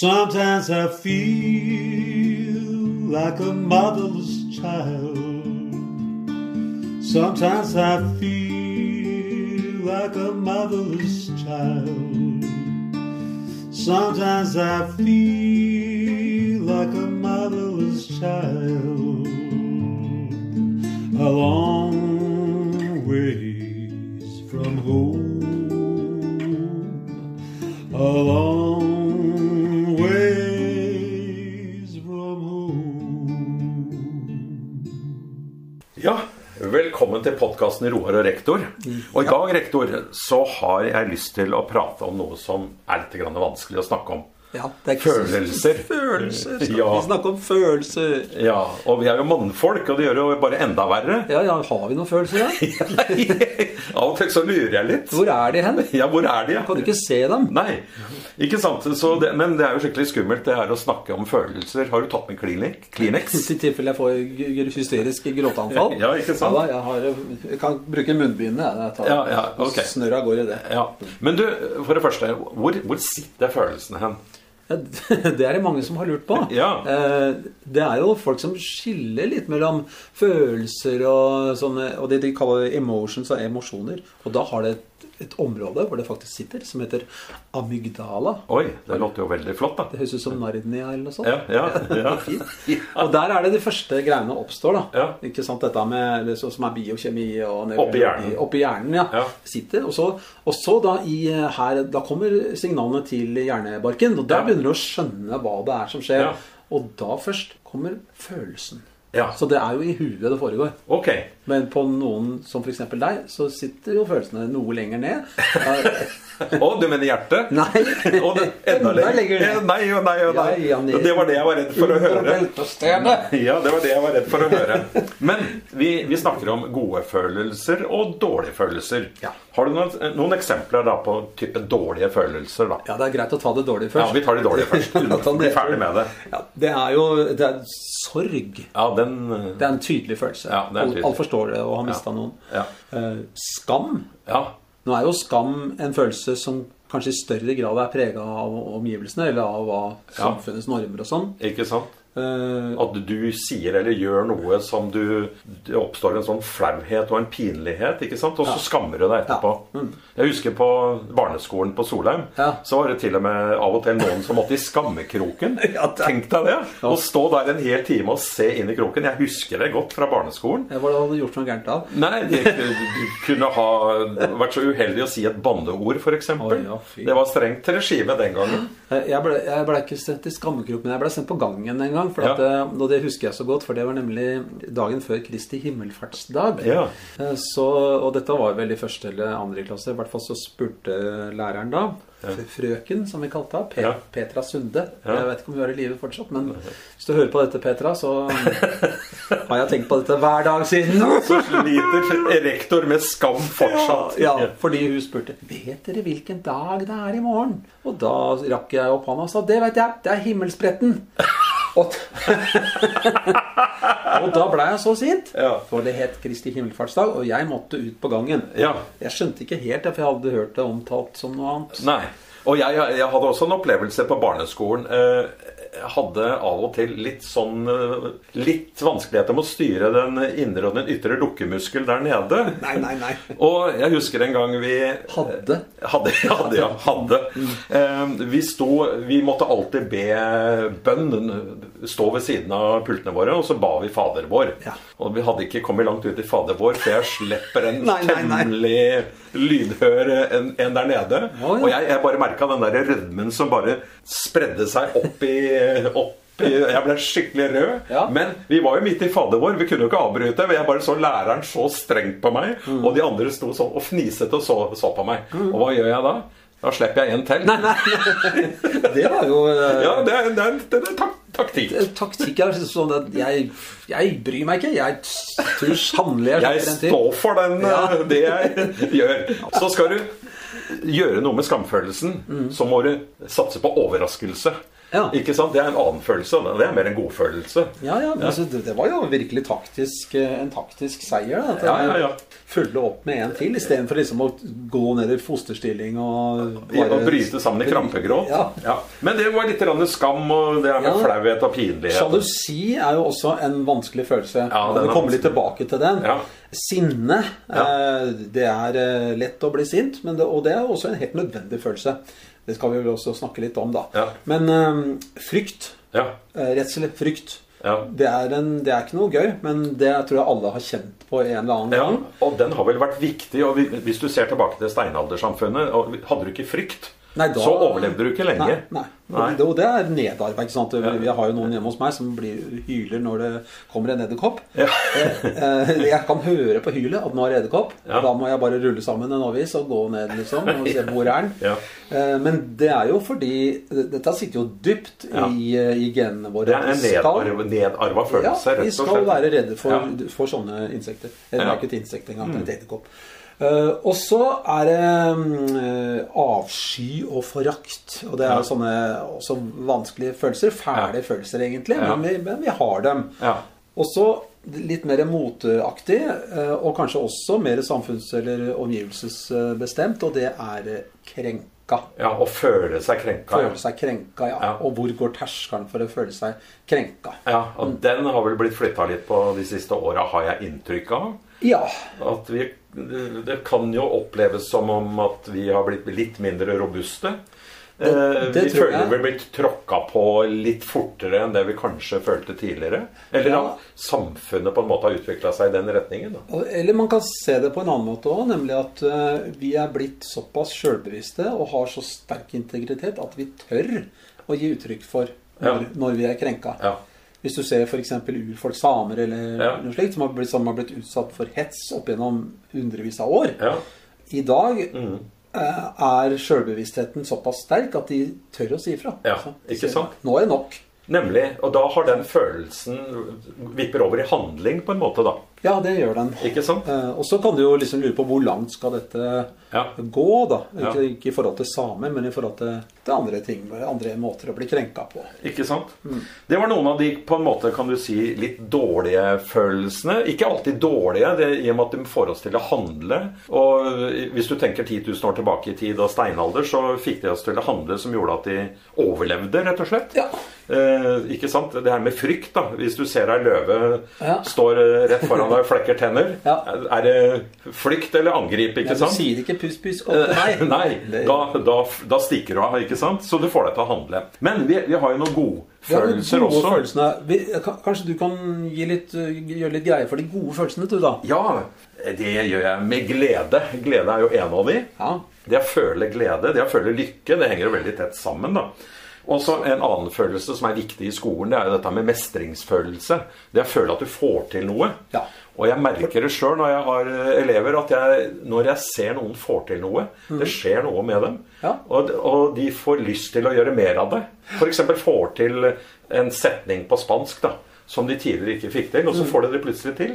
Sometimes I feel like a motherless child. Sometimes I feel like a motherless child. Sometimes I feel like a motherless child. A long ways from home. A long ways from home. Ja, velkommen til podkasten Roar og rektor. Og i dag, rektor, så har jeg lyst til å prate om noe som er litt grann vanskelig å snakke om. Ja, det er ikke så- Følelser. Følelser. Ja. Vi snakker om følelser. Ja, og vi er jo mannfolk, og det gjør det jo bare enda verre. Ja, ja, har vi noen følelser, da? Av og til så lurer jeg litt. Hvor er de hen? Ja, hvor er de? ja? Kan du ikke se dem? Nei, ikke sant. Så det, men det er jo skikkelig skummelt, det her å snakke om følelser. Har du tatt med Kleenex? Kleenex? I tilfelle jeg får g- g- hysterisk gråteanfall. Ja, ikke sant? Ja, da, jeg, har, jeg kan bruke munnbindene. Jeg, jeg tar, Ja, ja, ok. Snør av gårde, det. Ja. Men du, for det første, hvor, hvor sitter følelsene hen? Ja, Det er det mange som har lurt på. Ja. Eh, Det er jo folk som skiller litt mellom følelser og sånne Og det de kaller emotions og emosjoner. Og da har det et, et område hvor det faktisk sitter, som heter amygdala. Oi, det låter jo veldig flott, da. Det høres ut som Narnia eller noe sånt. Ja, ja, ja. Og der er det de første greiene oppstår. da Ja. Ikke sant, Dette med eller så- som er biokjemi og nevrologi- Oppi hjernen. Oppi hjernen, ja. Ja. Sitter. Og så, og så da i eh, her Da kommer signalene til hjernebarken, og der Ja. begynner du å skjønne hva det er som skjer. Ja. Og da først kommer følelsen. Ja. Så det er jo i huet det foregår. Ok. Men på noen som f.eks. deg, så sitter jo følelsene noe lenger ned. Eh, Å, du mener hjertet? Nei. Å, det, enda lenger ned. Eh, Nei, jo, nei, jo, nei. Ja, ja, ned. Det var det jeg var redd for å høre. Beltestedet. Ja, det var det jeg var redd for å høre. Men vi, vi snakker om gode følelser og dårlige følelser. Ja. Har du noen, noen eksempler da på type dårlige følelser, da? Ja, det er greit å ta det dårlige først. Ja, vi tar det dårlige først. Ja, ta Bli ferdig med det. Ja, det er jo det er sorg. Ja, den Det er en tydelig følelse. Ja, det er tydelig. Alle alle forstår det å ha mista Ja. noen. Ja. Eh, skam. Ja. Nå er jo skam en følelse som kanskje i større grad er prega av omgivelsene, eller av hva Ja. samfunnets normer og sånn. Ikke sant? Eh, At du sier eller gjør noe som du Det oppstår en sånn flauhet og en pinlighet, ikke sant? Og så skammer du deg etterpå. Jeg husker på barneskolen på Solheim. Mm. Ja. Så var det til og med av og til noen som måtte i skammekroken. Ja, det- Tenk deg det! Å stå der en hel time og se inn i kroken. Jeg husker det godt fra barneskolen. hva var det du hadde gjort noe gærent av? Nei, de ku- kunne ha vært så uheldig å si et banneord, f.eks. Oi, ja, fy. det var strengt regime den gangen. Eh, Jeg ble, jeg ble ikke sendt i skammekrok, men jeg ble sendt på gangen en gang. For Ja. at, eh, og det husker jeg så godt, for det var nemlig dagen før Kristi himmelfartsdag. Ja. Eh, Så, og dette var vel i første eller andre klasse. I hvert fall så spurte læreren da, fr- frøken som vi kalte henne, Pe Ja. Petra Sunde. Ja. Jeg vet ikke om hun er i live fortsatt, men hvis du hører på dette, Petra, så um, har jeg tenkt på dette hver dag siden. Sliter rektor med skam fortsatt. Ja, fordi hun spurte Vet dere hvilken dag det er i morgen? Og da rakk jeg opp hånda og sa Det vet jeg, det er himmelspretten Og, og da ble jeg så sint Ja. For det het Kristi himmelfartsdag Og jeg måtte ut på gangen Ja. Jeg skjønte ikke helt det, for jeg hadde hørt det omtalt som noe annet Nei. Og jeg, jeg hadde også en opplevelse på barneskolen. Eh, Jeg hadde av og til litt sånn eh, Litt vanskeligheter med å styre den indre og den ytre lukkemuskel der nede. Nei, nei, nei Og jeg husker en gang vi Hadde. Mm. Hadde, hadde, ja, hadde. Eh, Vi sto Vi måtte alltid be bønn. Stå ved siden av pultene våre, og så ba vi Fader vår. Ja. Og vi hadde ikke kommet langt ut i Fader vår, for jeg slipper en Nei, nei, nei. temmelig lydhør enn enn der nede. Å, ja. Og jeg, jeg bare merka den der rødmen som bare spredde seg opp i opp i- jeg ble skikkelig rød, Ja. men vi var jo midt i fader vår. Vi kunne jo ikke avbryte. men Jeg bare så læreren så strengt på meg, Mm. og de andre sto sånn og fniset og så, så på meg. Og hva gjør jeg da? Da slipper jeg en til. Det var jo eh, Ja, det er, det er, det er tak taktikk. Taktikk er sånn at jeg, jeg bryr meg ikke Jeg tror sannelig jeg Jeg slipper en til. står for den, Ja. eh, det jeg gjør. Så skal du gjøre noe med skamfølelsen, så må du satse på overraskelse. Mm. Ja. Ikke sant? Det er en annen følelse. og Det er mer en godfølelse. Ja, ja, men Altså, det, det var jo virkelig taktisk, eh, en taktisk seier. Da, at Ja, ja, ja. Følge opp med en til istedenfor liksom å gå ned i fosterstilling og I å bryte sammen i krampegråt. Ja. Men det var litt grann skam, og det er med Ja. flauhet og pinlighet. Sjalusi er jo også en vanskelig følelse. Ja, og den Vi er kommer litt vanskelig. tilbake til den. Ja. Sinne. Ja. eh, Det er eh, lett å bli sint, men det, og det er også en helt nødvendig følelse. Det skal vi vel også snakke litt om, da. Ja. Men eh, frykt. Ja. eh, Redsel. Frykt. Ja. Det er, en, det er ikke noe gøy, men det tror jeg alle har kjent på en eller annen Ja, gang. og den har vel vært viktig. og vi- Hvis du ser tilbake til steinaldersamfunnet, og hadde du ikke frykt, Nei, da- så overlevde du ikke lenge. Nei, nei. Nei. Og det er nedarva. ikke sant? Vi- Jeg har jo noen hjemme hos meg som blir, hyler når det kommer en edderkopp. Eh, eh, jeg kan høre på hylet at nå er det edderkopp. Ja. Da må jeg bare rulle sammen en avis og gå ned liksom, og se hvor er den Ja. Eh, Men det er jo fordi Dette sitter jo dypt Ja. i, eh, i genene våre. Det er en Skal- nedarva, nedarva ja, følelse, vi rett og skal slett. være redde for, Ja. for sånne insekter. Ja. Mm. Eller det er ikke et insekt engang, det er et edderkopp. Eh, og så er det mm, eh, avsky og forakt. Og det er Ja. sånne også vanskelige følelser. Fæle Ja. følelser, egentlig, Ja. men, vi, men vi har dem. Ja. Og så litt mer moteaktig, eh, og kanskje også mer samfunns- eller omgivelsesbestemt, og det er eh, krenka. Ja, og føle seg krenka. Føle seg krenka, ja. Ja. Og hvor går terskelen for å føle seg krenka? Ja, og den har vel blitt flytta litt på de siste åra, har jeg inntrykk av. Ja. At vi, det kan jo oppleves som om at vi har blitt litt mindre robuste. Eh, det vi tror jeg. føler vi blitt tråkka på litt fortere enn det vi kanskje følte tidligere. Eller Ja. at samfunnet på en måte har utvikla seg i den retningen. Da. Og- Eller man kan se det på en annen måte òg, nemlig at eh, vi er blitt såpass sjølbevisste og har så sterk integritet at vi tør å gi uttrykk for når, Ja. når vi er krenka. Ja. Hvis du ser f.eks. urfolk, samer eller Ja. noe slikt, som har, blitt, som har blitt utsatt for hets opp gjennom hundrevis av år. Ja. mm. I dag eh, er sjølbevisstheten såpass sterk at de tør å si ifra. Ja, Altså, de ikke sier, sant? Nå er det nok. Nemlig. Og da har den følelsen vipper over i handling, på en måte, da. Ja, det gjør den. Ikke sant? Eh, Og så kan du jo liksom lure på hvor langt skal dette Ja. gå, da. Ikke, Ja. ikke i forhold til samer, men i forhold til, til andre ting. Andre måter å bli krenka på. Ikke sant? Mm. Det var noen av de på en måte, kan du si, litt dårlige følelsene. Ikke alltid dårlige, det, i og med at de får oss til å handle. Og eh, Hvis du tenker 10 000 år tilbake i tid og steinalder, så fikk de oss til å handle som gjorde at de overlevde, rett og slett. Ja. Eh, ikke sant? Det her med frykt, da. Hvis du ser ei løve Ja. står eh, rett foran deg og flekker tenner, Ja. er- er det flykt eller angrip? Ja, ikke du sant? Eh, sier ikke 'pus, pus, gå til meg'. Nei, Det- da, da, da stikker du av, ikke sant? Så du får deg til å handle. Men vi, vi har jo noen Ja, de godfølelser gode også. følelsene. Vi- ka- Kanskje du kan gi litt, uh, gjøre litt greie for de gode følelsene, du, da? Ja, det gjør jeg med glede. Glede er jo en av de. Ja. Det å føle glede, det å føle lykke, det henger jo veldig tett sammen, da. Og så En annen følelse som er viktig i skolen, det er jo dette med mestringsfølelse. Det å føle at du får til noe. Ja. Og jeg merker det sjøl når jeg har eh, elever, at jeg, når jeg ser noen får til noe, det skjer noe med dem. Mhm. Ja. Og, og de får lyst til å gjøre mer av det. F.eks. får til en setning på spansk da, som de tidligere ikke fikk til, og Mhm. så får de det plutselig til.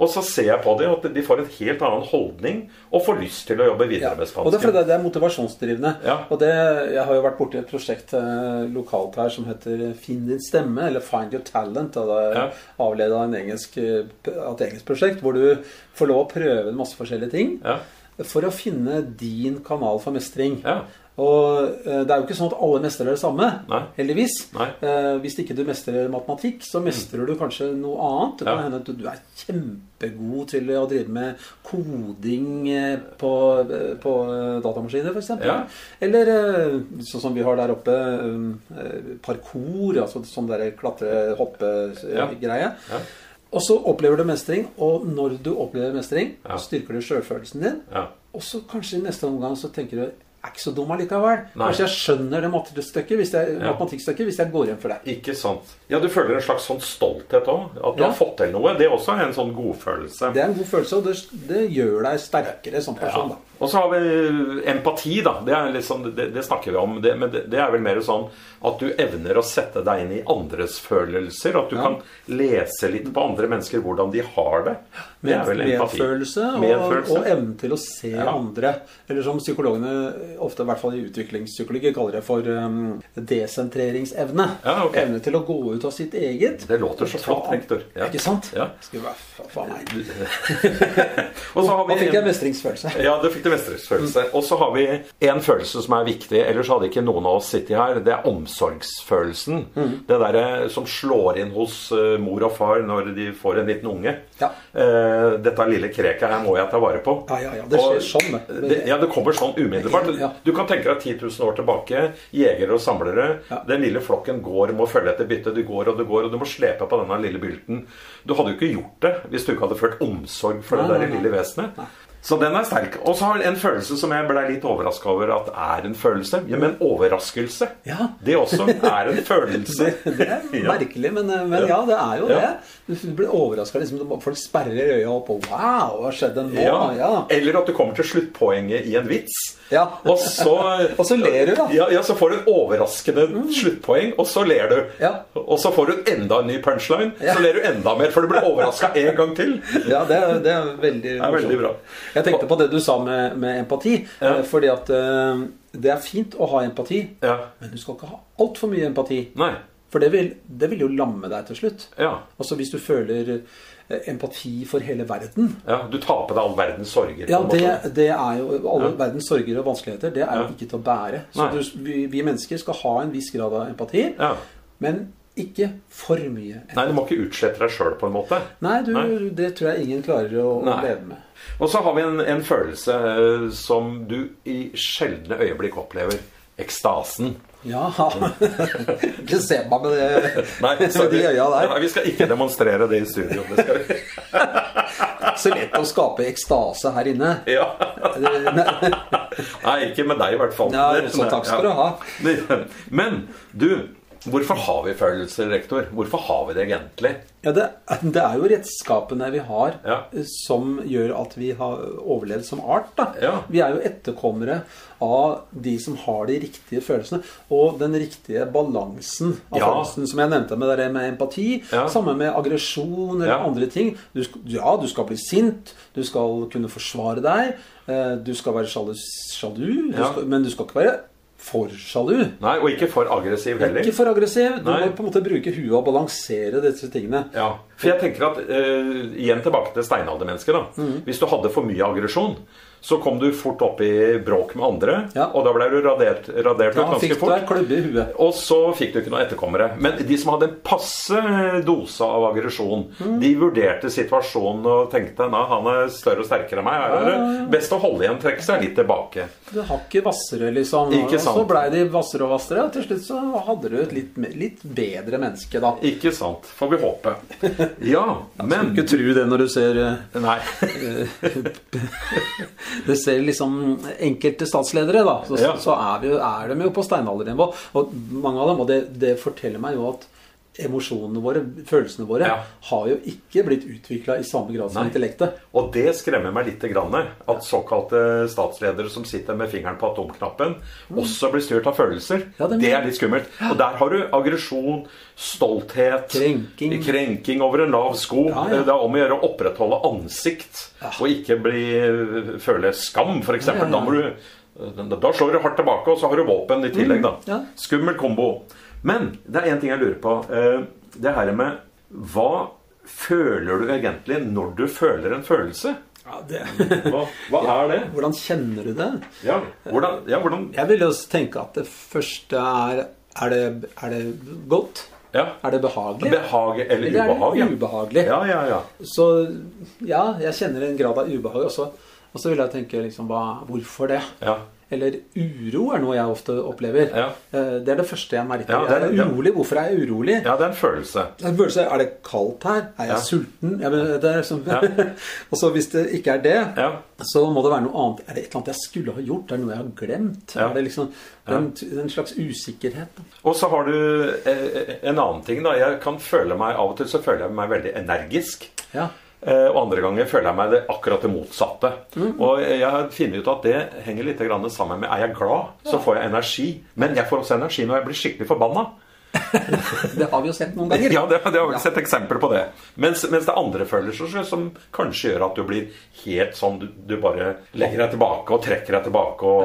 Og så ser jeg på dem at de får en helt annen holdning og får lyst til å jobbe videre med Og det er, fordi spansken. det- det er motivasjonsdrivende. Ja. Og det, jeg har jo vært borti et prosjekt eh, lokalt her som heter 'Finn din stemme', eller 'Find your talent'. Og det er Ja. avledet av en engelsk, eh, av et engelsk prosjekt hvor du får lov å prøve masse forskjellige ting Ja. for å finne din kanal for mestring. Ja. Og eh, det er jo ikke sånn at alle mestrer det samme, Nei. heldigvis. Nei. Mm. Eh, Hvis ikke du mestrer matematikk, så mestrer du kanskje noe annet. Det kan Ja. hende at du- du er kjempegod til å drive med koding eh, på, eh, på eh, datamaskiner, f.eks. Ja. Eller eh, sånn som vi har der oppe, eh, parkour, altså sånn Ja. derre klatre-hoppe-greie. Ja. eh, Og så opplever du mestring, og når du opplever mestring, Ja. styrker du sjølfølelsen din. Ja. Og så kanskje i neste omgang så tenker du jeg er ikke så dum allikevel. Nei. Kanskje jeg skjønner det matematikkstykket hvis jeg, Ja. matematikkstykket hvis jeg går hjem for deg. Ikke sant. Ja, du føler en slags sånn stolthet òg. At du Ja. har fått til noe. Det er også en sånn godfølelse. Det er en god følelse, og det, det gjør deg sterkere som person. Ja. da. Og så har vi eh, empati, da. Det, er liksom, det, det snakker vi om. Det, men det, det er vel mer sånn at du evner å sette deg inn i andres følelser. At du Ja. kan lese litt på andre mennesker, hvordan de har det. Det er vel empati. Medfølelse og, Medfølelse. og evnen til å se andre. Eller som psykologene ofte, i hvert fall i utviklingspsykologi, kaller det for um, desentreringsevne. Ja, ok. Evne til å gå ut av sitt eget. Det låter så Ta flott, an- Hector. Ja. Ikke sant? Ja. Skulle være fa- faen meg. Og så har Da fikk vi jeg mestringsfølelse. ja, det fikk det mestringsfølelse. Og så har vi en følelse som er viktig, ellers hadde ikke noen av oss sittet her. Det er omsorgsfølelsen. Mm. Det derre som slår inn hos eh, mor og far når de får en liten unge. Ja. Eh, dette lille kreket her må jeg ta vare på. Ja, ja, ja, det skjer Og sånn, det. det- Ja, det kommer sånn umiddelbart. Ja. Du kan tenke deg 10 000 år tilbake. Jegere og samlere. Ja. Den lille flokken går, må følge etter byttet. Du går og du går, og du må slepe på denne lille bylten. Du hadde jo ikke gjort det hvis du ikke hadde ført omsorg for Nei, det nei, der nei. lille vesenet. Så den er sterk. Og så har den en følelse som jeg ble litt overraska over at er en følelse. Ja, men overraskelse. Ja. Det også er en følelse. Det er Ja. merkelig, men, eh, men ja, det er jo Ja. det. Du blir overraska. Liksom, folk sperrer øya opp og Wow, hva skjedde nå? Ja. Ja. Eller at du kommer til sluttpoenget i en vits. Ja. Og, så, Og så ler du, da. Mm. Ja, ja, så får du et overraskende sluttpoeng, og så ler du. Ja. Og så får du enda en ny punchline, Ja. så ler du enda mer, for du blir overraska en gang til. Ja, det er, det er veldig, er veldig morsomt. bra. Jeg tenkte på det du sa med, med empati. Ja. eh, Fordi at eh, det er fint å ha empati, Ja. men du skal ikke ha altfor mye empati. Nei. For det vil, det vil jo lamme deg til slutt. Ja. Altså hvis du føler eh, empati for hele verden ja. Du tar på deg all verdens sorger. på ja, en måte. det, det er jo Alle Ja. verdens sorger og vanskeligheter, det er jo Ja. ikke til å bære. Så Nei. du, vi, vi mennesker skal ha en viss grad av empati, Ja. men ikke for mye. Nei, du må ikke utslette deg sjøl, på en måte. Nei, du, Nei. det tror jeg ingen klarer å å Nei. leve med. Og så har vi en, en følelse eh, som du i sjeldne øyeblikk opplever. Ekstasen. Ja Ikke se på meg med det Nei, med de øya der. Nei, vi skal ikke demonstrere det i studio. Det skal vi. Så lett å skape ekstase her inne. Eh, Ja. Nei, ikke med deg i hvert fall. Ja, så takk skal du ha. ha. Men du, hvorfor har vi følelser, rektor? Hvorfor har vi det egentlig? Ja, det, det er jo redskapene vi har Ja. eh, som gjør at vi har overlevd som art. Da. Ja. Vi er jo etterkommere av de som har de riktige følelsene. Og den riktige balansen av Ja. følelsen, som jeg nevnte med, det der med empati. Ja. Sammen med aggresjon eller Ja. andre ting. Du, sk- ja, du skal bli sint. Du skal kunne forsvare deg. eh, Du skal være sjalus, sjalu. Du Ja. skal, men du skal ikke være for sjalu. Nei, og ikke for aggressiv heller. Ikke for aggressiv. Du Nei. må på en måte bruke huet og balansere disse tingene. Ja, for jeg tenker at eh, Igjen tilbake til steinaldermennesket. da Mm. Hvis du hadde for mye aggresjon, så kom du fort opp i bråk med andre, Ja. og da ble du radert, radert ut Da ganske fikk du fort. ei klubbe i huet. Og så fikk du ikke noen etterkommere. Men de som hadde en passe dose av aggresjon, Mm. de vurderte situasjonen og tenkte Nei, han er større og sterkere enn meg. Her er det best å holde igjen, trekke seg litt tilbake. Det hakket hvassere, liksom. Ikke sant. Og så blei de hvassere og hvassere, og til slutt så hadde du et litt, me- litt bedre menneske, da. Ikke sant. Får vi håpe. Ja, men Ikke tru det når du ser eh, Nei. Du ser liksom enkelte statsledere, da. Så, Ja. så er, vi, jo- er de jo på steinaldernivå. Og mange av dem. Og det, det forteller meg jo at emosjonene våre, følelsene våre, Ja. har jo ikke blitt utvikla i samme grad som Nei. intellektet. Og det skremmer meg litt. Grann, at såkalte statsledere som sitter med fingeren på atomknappen, også blir styrt av følelser. Mm. Ja, det, det mener jeg. er litt skummelt. Og der har du aggresjon, stolthet Krenking. krenking over en lav sko. Ja, ja. Det er om å gjøre å opprettholde ansikt, og ikke bli, føle skam, f.eks. Ja, ja, ja. Da må du da slår du hardt tilbake, og så har du våpen i tillegg. da. ja. Skummel kombo. Men det er én ting jeg lurer på. eh, Det her med Hva føler du egentlig når du føler en følelse? Ja, det. Hva, hva er det? Hvordan kjenner du det? Ja, hvordan, ja, hvordan Jeg vil jo tenke at det første er Er det, er det godt? ja. Er det behagelig? Behag eller Eller er det ubehag? ja. ubehagelig? Ja, ja, ja. Så ja, jeg kjenner en grad av ubehag også. Og så vil jeg tenke liksom, hva, hvorfor det? ja. Eller uro er noe jeg ofte opplever. Ja. Eh, Det er det første jeg merker. Ja, det er- jeg er urolig. Hvorfor er jeg urolig? Ja, det er en følelse. Jeg føler seg, Er det kaldt her? Er jeg Ja. sulten? Jeg vet, det er liksom, Ja. og så hvis det ikke er det, Ja. så må det være noe annet. Er det et eller annet jeg skulle ha gjort? Er det noe jeg har glemt? Ja. Er det liksom en, en slags usikkerhet? Og så har du eh, en annen ting, da. Jeg kan føle meg, Av og til så føler jeg meg veldig energisk. Ja. Eh, Og andre ganger føler jeg meg det akkurat det motsatte. Og jeg har funnet ut at det henger litt grann sammen med Er jeg glad, så får jeg energi. Men jeg får også energi når jeg blir skikkelig forbanna. Det har vi jo sett noen ganger. Ja, det, det har vi sett eksempler på det. Mens, mens det er andre følelser som- som kanskje gjør at du blir helt sånn Du, du bare legger deg tilbake og trekker deg tilbake og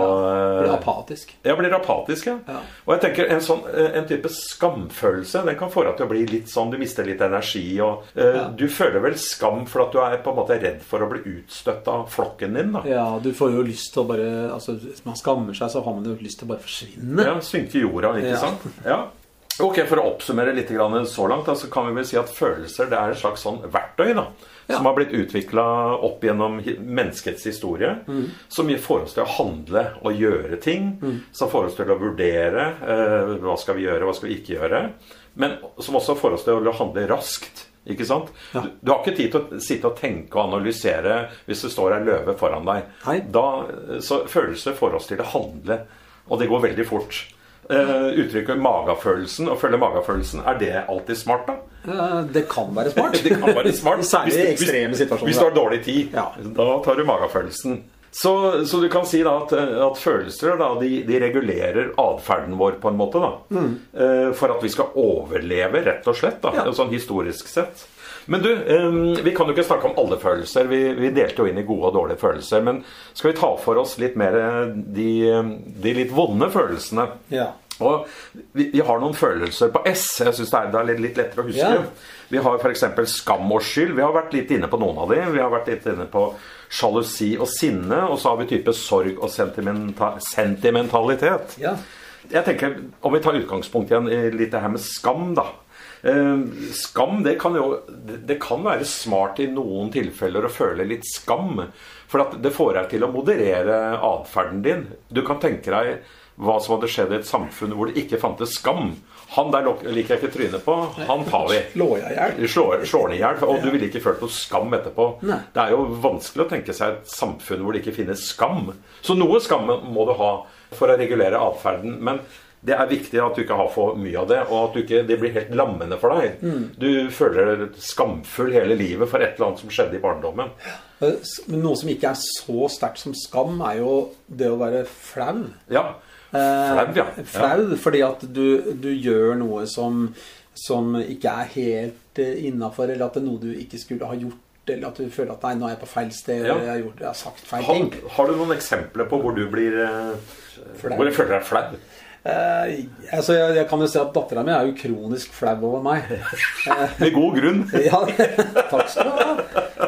Blir eh, apatisk. jeg blir apatisk, ja. Ja. Og jeg tenker en, sånn, en type skamfølelse Den kan få deg til å bli litt sånn Du mister litt energi og eh, Ja. Du føler vel skam for at du er på en måte redd for å bli utstøtt av flokken din, da. Ja. Ja, du får jo lyst til å bare altså, Hvis man skammer seg, så har man jo lyst til å bare forsvinne. synke i jorda, ikke Ja. sant? Ja. Ok, For å oppsummere litt grann så langt, da, så kan vi vel si at følelser det er et slags sånn verktøy da, Ja. som har blitt utvikla opp gjennom hi- menneskets historie. Mm. Som får oss til å handle og gjøre ting. Som får oss til å vurdere eh, hva skal vi gjøre, hva skal vi ikke gjøre. Men som også får oss til å handle raskt. Ikke sant? Ja. Du, du har ikke tid til å sitte og tenke og analysere hvis det står ei løve foran deg. Nei. Da, eh, så følelser får oss til å handle, og det går veldig fort. Eh, uttrykket 'magefølelsen' og 'følge magefølelsen', er det alltid smart, da? Eh, Det kan være smart. Det kan være smart. Særlig Hvis du- i ekstreme situasjoner. Hvis du har dårlig tid, Ja. da tar du magefølelsen. Så, så du kan si da at, at følelser da, de, de regulerer atferden vår på en måte. da. Eh, For at vi skal overleve, rett og slett. da, Mm. Ja. Sånn historisk sett. Men du, eh, vi kan jo ikke snakke om alle følelser. Vi, vi delte jo inn i gode og dårlige følelser. Men skal vi ta for oss litt mer eh, de, de litt vonde følelsene? Ja. Og vi, vi har noen følelser på S. Jeg syns det er, det er litt, litt lettere å huske. Ja. Vi har f.eks. skam og skyld. Vi har vært litt inne på noen av de. Vi har vært litt inne på sjalusi og sinne. Og så har vi type sorg og sentimenta sentimentalitet. Ja. Jeg tenker, Om vi tar utgangspunkt igjen i litt det her med skam, da. Eh, Skam det kan jo det det kan være smart i noen tilfeller å føle litt skam. For at det får deg til å moderere atferden din. Du kan tenke deg hva som hadde skjedd i et samfunn hvor det ikke fantes skam. Han der lok- liker jeg ikke trynet på. Han tar vi. Slår jeg i hjel? Du slår, slår den i hjel, og du ville ikke følt noe skam etterpå. Nei. Det er jo vanskelig å tenke seg et samfunn hvor det ikke finnes skam. Så noe skam må du ha for å regulere atferden. Men det er viktig at du ikke har for mye av det, og at du ikke, det blir helt lammende for deg. Mm. Du føler deg skamfull hele livet for et eller annet som skjedde i barndommen. Eh, s- Men noe som ikke er så sterkt som skam, er jo det å være flau. Ja. Flau, ja. Eh, Flau, fordi at du, du gjør noe som, som ikke er helt eh, innafor, eller at det er noe du ikke skulle ha gjort, eller at du føler at nei, nå er jeg på feil sted, Ja. eller jeg har, gjort, jeg har sagt feil Har, ting. har du noen eksempler på hvor du blir eh, Flau. Hvor du føler deg flau? Eh, altså, jeg, jeg kan jo se at dattera mi er jo kronisk flau over meg. Med god grunn. Ja, takk skal du ha.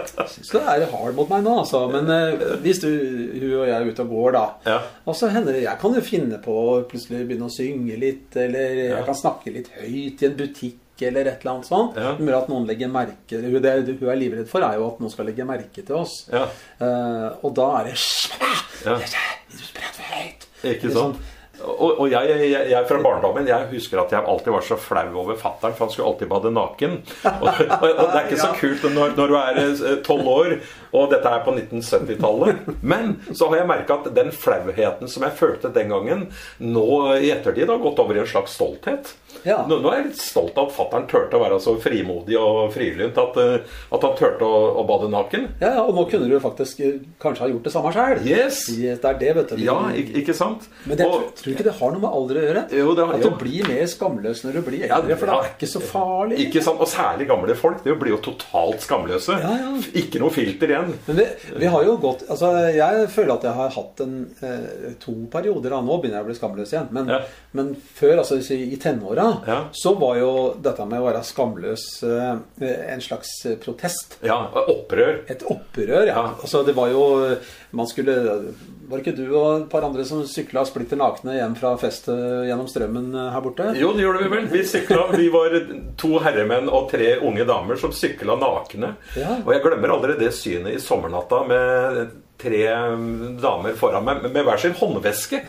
Jeg syns du er hard mot meg nå, altså. Men eh, hvis du, hun og jeg er ute og går, da. Ja. Og så hender det Altså, Jeg kan jo finne på å plutselig begynne å synge litt, eller jeg kan snakke litt høyt i en butikk. Eller et eller annet sånt. Ja. Men at noen legger merke Hun- Det hun er livredd for, er jo at noen skal legge merke til oss. Ja. Eh, og da er det «Hysj! Ja. Du prater for høyt! Ikke Litt sant? Og, og jeg, jeg, jeg fra barndommen jeg husker at jeg alltid var så flau over fattern, for han skulle alltid bade naken. Og, og, og det er ikke så Ja. kult når, når du er eh, tolv år, og dette er på 1970-tallet. Men så har jeg merka at den flauheten som jeg følte den gangen, nå i ettertid har gått over i en slags stolthet. Ja. Nå, nå er jeg litt stolt av at fattern turte å være så frimodig og frilynt at, eh, at han turte å, å bade naken. Ja, ja, og nå kunne du faktisk eh, kanskje ha gjort det samme sjøl. Yes. Det er det, vet du. Ja, ikke, ikke sant? Men jeg Og- tror- tror du ikke det har noe med alder å gjøre? Jo, det har- at du jo. blir mer skamløs når du blir Ja, eldre, for det ja. er ikke så farlig. Ikke sant? Og særlig gamle folk. Det blir jo totalt skamløse. Ja, ja. Ikke noe filter igjen. Men vi, vi har jo gått Altså, jeg føler at jeg har hatt en, eh, to perioder da. Nå begynner jeg å bli skamløs igjen. Men, Ja. men før, altså hvis vi- i tenåra, Ja. så var jo dette med å være skamløs eh, en slags eh, protest. Ja, Opprør. Et opprør, ja. Ja. Altså, det var jo Man skulle Var det ikke du og et par andre som sykla splitter nakne hjem fra fest eh, gjennom strømmen eh, her borte? Jo, det gjorde vi vel. Vi sykla. Vi var to herremenn og tre unge damer som sykla nakne. Ja. Og jeg glemmer aldri det synet i sommernatta med tre um, damer foran meg med- med hver sin håndveske.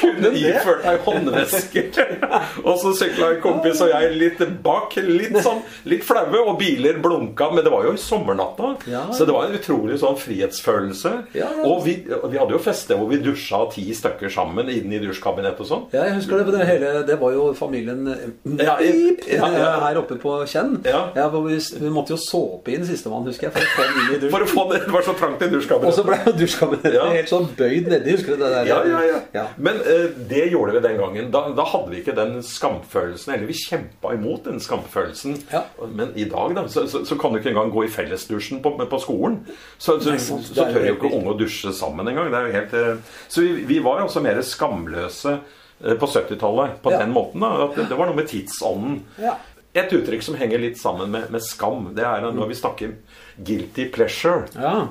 Kunne iført meg håndvesker. og så sykla en kompis og jeg litt bak, litt sånn litt flaue, og biler blunka. Men det var jo i sommernatta, Ja, ja. så det var en utrolig sånn frihetsfølelse. Ja, ja. Og vi, vi hadde jo fester hvor vi dusja ti stykker sammen inne i dusjkabinettet og sånn. Ja, jeg husker det, for det, hele, det var jo familien eh, Ja, i- ja, ja. her oppe på Kjenn. Ja. hvor vi, vi måtte jo såpe inn sistemann, husker jeg. For å få den inn i dusj. For å få det, det var så trangt i Og så dusjkabinettet. ble jo dusjkabinettet Ja. helt sånn bøyd nedi, husker du det der? Ja, ja, ja. Ja. Men eh, det gjorde vi den gangen. Da, da hadde vi ikke den skamfølelsen. Eller vi kjempa imot den skamfølelsen. Ja. Men i dag da, så, så, så kan du ikke engang gå i fellesdusjen på, på skolen. Så, så, Nei, så, sant. Det er jo tør jo helt ikke unge å dusje sammen engang. Det er jo helt, eh, så vi, vi var også mer skamløse eh, på 70-tallet på Ja. den måten. da, at det, det var noe med tidsånden. Ja. Et uttrykk som henger litt sammen med, med skam, det er når vi snakker guilty pleasure. Ja.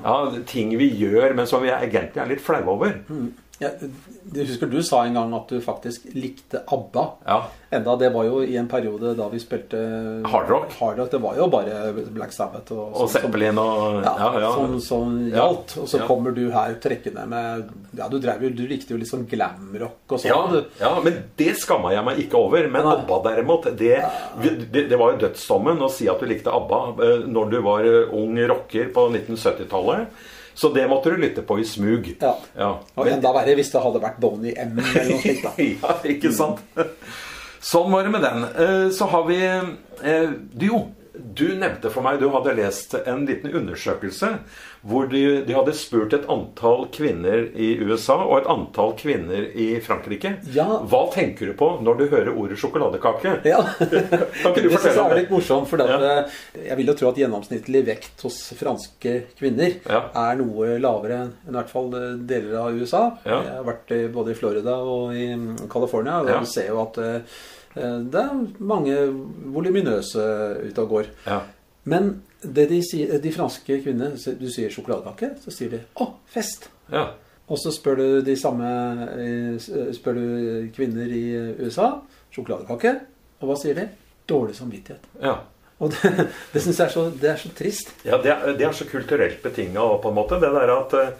ting vi gjør, men som vi er- egentlig er litt flaue over. Mm. Ja, du husker du sa en gang at du faktisk likte ABBA. Ja. Enda det var jo i en periode da vi spilte Hardrock. Hardrock, det var jo bare Black Sabbath og, Og sånn som- Zeppelin og Ja, ja, ja. Som, som Ja. gjaldt. Og så Ja. kommer du her trekkende med Ja, du, drev, jo- du likte jo litt sånn glamrock og sånn. Ja, du. ja, men det skamma jeg meg ikke over. Men Nei. ABBA, derimot, det, det, det var jo dødsdommen å si at du likte ABBA eh, når du var eh, ung rocker på 1970-tallet. Så det måtte du lytte på i smug. Ja. Ja. Og enda verre hvis det hadde vært Bonnie M. eller noe slikt. da. ja, ikke sant? Sånn var det med den. Eh, Så har vi eh, du, Jo, du nevnte for meg Du hadde lest en liten undersøkelse hvor de, de hadde spurt et antall kvinner i USA og et antall kvinner i Frankrike. Ja. Hva tenker du på når du hører ordet sjokoladekake? Ja. Kan ikke du Det synes fortelle om jeg er det? litt morsomt, for jeg vil jo tro at gjennomsnittlig vekt hos franske kvinner Ja. er noe lavere enn i hvert fall eh, deler av USA. Ja. Jeg har vært i- både i Florida og i mm, California, og Ja. du ser jo at eh, det er mange voluminøse ute og går. Ja. Men det de, sier, de franske kvinnene så Du sier sjokoladekake, så sier de 'Å, fest'. Ja. Og så spør du de samme eh, Spør du kvinner i eh, USA sjokoladekake, og hva sier de? Dårlig samvittighet. ja. Og det, det syns jeg er så, det er så trist. ja det, er, det er så kulturelt betinga på en måte, det der at eh,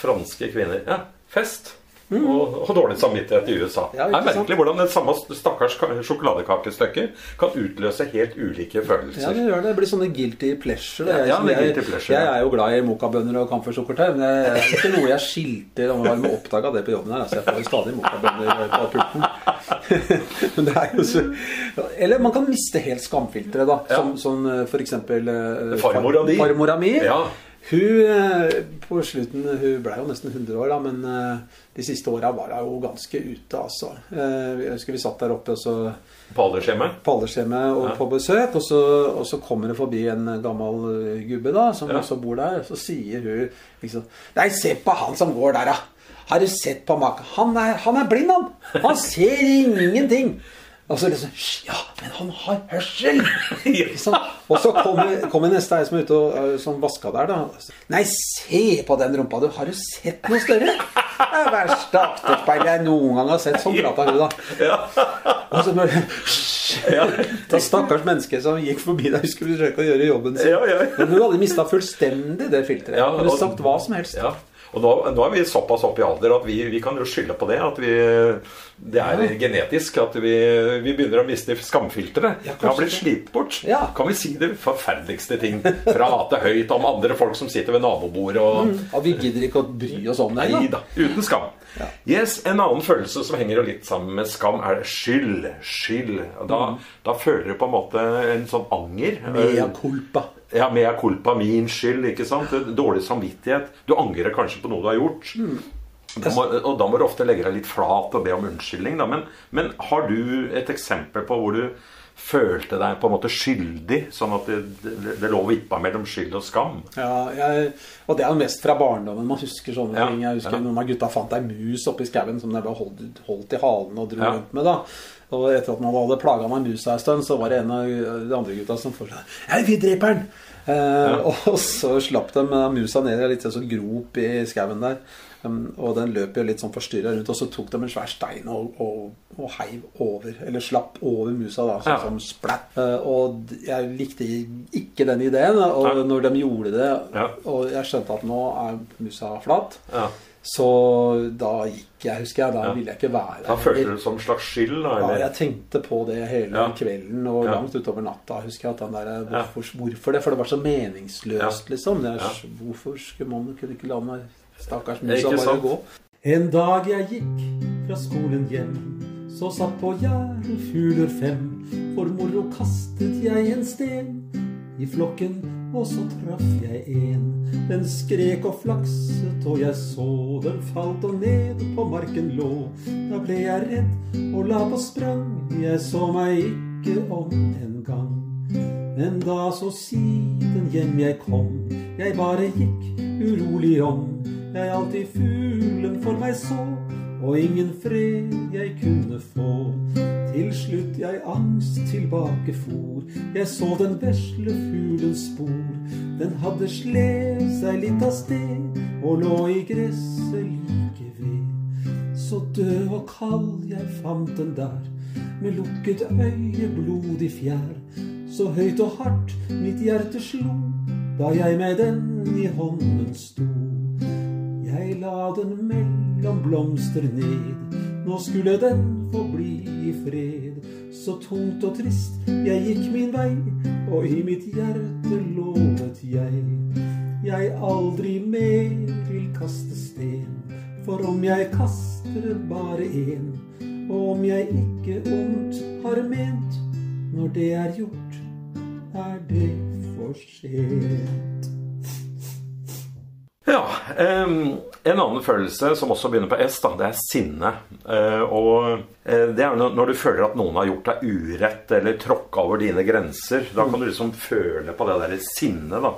franske kvinner Ja, fest. Og, og dårlig samvittighet i USA. Mm. Ja, det er ikke sant? merkelig hvordan det samme stakkars ka- sjokoladekakestykket kan utløse helt ulike følelser. Ja, det gjør det. Det blir sånne guilty pleasure. da. Ja, Jeg, ja, som det er jeg, guilty pleasure, jeg ja. er jo glad i mokabønner og kamfersukkertøy, men det er ikke noe jeg skilter om å være oppdaga det på jobben her. Altså, jeg får jo stadig mokabønner på pulten. men det er jo så Eller man kan miste helt skamfilteret, da. Ja. Som, som eh, for eksempel eh, Farmora di. Farmora mi. Ja. Hun eh, på slutten Hun ble jo nesten 100 år, da, men eh, de siste åra var hun jo ganske ute, altså. Eh, Jeg husker vi satt der oppe, og så På aldershjemmet? på aldershjemmet og Ja. på besøk, og så, og så kommer det forbi en gammel eh, gubbe da, som Ja. også bor der, og så sier hun liksom Nei, se på han som går der, da! Har du sett på maken? Han er, han er blind, han! Han ser ingenting! Og så liksom «Hysj, Ja, men han har hørsel! Ikke sant? Og så kommer kommer neste ei som er ute og eh, som vaska der, da. Nei, se på den rumpa du! Har du sett noe større? Det er det verste akterspeilet jeg noen gang har sett. Sånn prata hun, da. Og så bare Ja. Det var stakkars menneske som gikk forbi deg og skulle forsøke å gjøre jobben sin. Ja, ja, ja. Men du hadde mista fullstendig det filteret. Ja, og- du hadde sagt hva som helst. ja. Og nå, nå er vi såpass opp i alder at vi, vi kan jo skylde på det. At vi, det er genetisk at vi, vi begynner å miste skamfilteret. Ja, vi har kanskje blitt slitt bort. Ja. Kan vi si det forferdeligste ting? Prate høyt om andre folk som sitter ved nabobordet og Og vi gidder ikke å bry oss om det. Nei da. da. Uten skam. Yes, En annen følelse som henger jo litt sammen med skam, er skyld. Skyld. Og Da, Mm. da føler du på en måte en sånn anger. Mea culpa. Ja, mea culpa, min skyld, ikke sant? Dårlig samvittighet. Du angrer kanskje på noe du har gjort. Da må, og da må du ofte legge deg litt flat og be om unnskyldning. Da. Men, men har du et eksempel på hvor du følte deg på en måte skyldig? Sånn at det, det, det lå og vippa mellom skyld og skam? Ja, jeg, og det er jo mest fra barndommen. Man husker sånne Ja, ting. Jeg husker ja. noen av gutta fant ei mus oppi skauen som de bare holdt, holdt i halen og dro Ja. rundt med. da Og etter at man hadde plaga med musa en stund, så var det en av de andre gutta som foreslo Hei, vi dreper den! Eh, Og så slapp de eh, musa ned i en liten sånn grop i skauen der. Um, og den løp jo litt sånn forstyrra rundt, og så tok de en svær stein og, og, og heiv over. Eller slapp over musa, da. Sånn Ja. som splatt. Eh, og d- jeg likte ikke den ideen. eh, Og Nei. når de gjorde det, Ja. og jeg skjønte at nå er musa flat, Ja. så da gikk jeg, husker jeg. Da Ja. ville jeg ikke være Da følte du det som en slags skyld, da? ja, Eller? jeg tenkte på det hele Ja. kvelden og Ja. langt utover natta. husker jeg at den der, eh, hvorfor, hvorfor det? For det var så meningsløst, liksom. Det er, Hvorfor skulle man kunne ikke la meg Stakkars musa Ikke bare sant? gå. En dag jeg gikk fra skolen hjem, så satt på gjerdet fugler fem. For moro kastet jeg en sten i flokken, og så traff jeg en. Den skrek og flakset, og jeg så den falt og ned på marken lå. Da ble jeg redd og la på sprang, jeg så meg ikke om en gang. Men da så siden hjem jeg kom, jeg bare gikk urolig om. Jeg alltid fuglen for meg så, og ingen fred jeg kunne få. Til slutt jeg angst tilbake for, jeg så den vesle fuglens spor. Den hadde slev seg litt av sted, og lå i gresset like ved. Så død og kald jeg fant den der, med lukket øye, blodig fjær. Så høyt og hardt mitt hjerte slo, da jeg med den i hånden sto. Jeg la den mellom blomster ned, nå skulle den få bli i fred. Så tungt og trist jeg gikk min vei, og i mitt hjerte lovet jeg. Jeg aldri mer vil kaste sten, for om jeg kaster bare én, og om jeg ikke ondt har ment, når det er gjort, er det for sent. Ja. em, en annen følelse som også begynner på S, da, det er sinne. Eh, og eh, det er jo når- når du føler at noen har gjort deg urett eller tråkka over dine grenser. Da kan du liksom føle på det derre sinnet, da.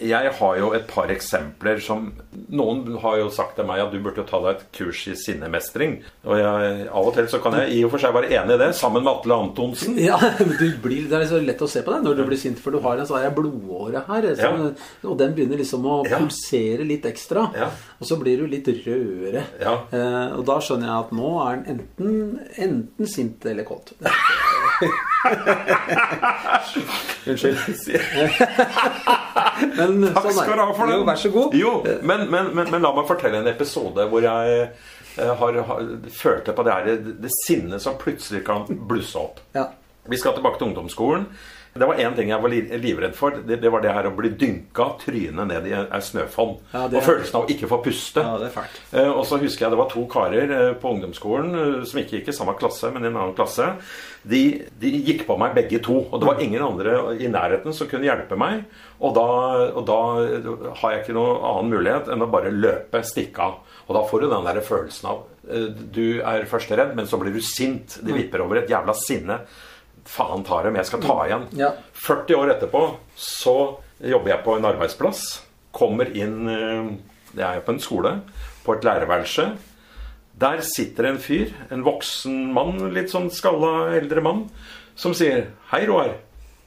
Jeg har jo et par eksempler som Noen har jo sagt til meg at du burde ta deg et kurs i sinnemestring. Og jeg, av og til så kan jeg i og for seg være enig i det, sammen med Atle Antonsen. Ja, men du blir, Det er så lett å se på deg når du blir sint, for du har en sånn her blodåre her. Sånn, Og den begynner liksom å Ja. pulsere litt ekstra. Ja. Og så blir du litt rødere. Ja. Eh, og da skjønner jeg at nå er den enten, enten sint eller kåt. Unnskyld. Men Takk sånn er skal du ha for det. det. Jo, vær så god. Jo, men, men, men, men la meg fortelle en episode hvor jeg eh, har, har følte på det, her, det sinnet som plutselig kan blusse opp. Ja. Vi skal tilbake til ungdomsskolen. Det var én ting jeg var li- livredd for. Det, det var det her å bli dynka trynet ned i ei snøfonn. Ja, det og er- følelsen av å ikke få puste. Ja, det er fælt. Eh, Og så husker jeg det var to karer eh, på ungdomsskolen eh, som ikke gikk i samme klasse, men i en annen klasse. De, de gikk på meg begge to, og det var ingen andre i nærheten som kunne hjelpe meg. Og da, og da eh, har jeg ikke noen annen mulighet enn å bare løpe, stikke av. Og da får du den der følelsen av eh, Du er først redd, men så blir du sint. Det vipper over et jævla sinne. Faen tar dem, jeg skal ta igjen. Ja. 40 år etterpå så jobber jeg på en arbeidsplass. Kommer inn eh, Jeg er på en skole, på et lærerværelse. Der sitter en fyr, en voksen mann, litt sånn skalla eldre mann, som sier 'Hei, Roar'.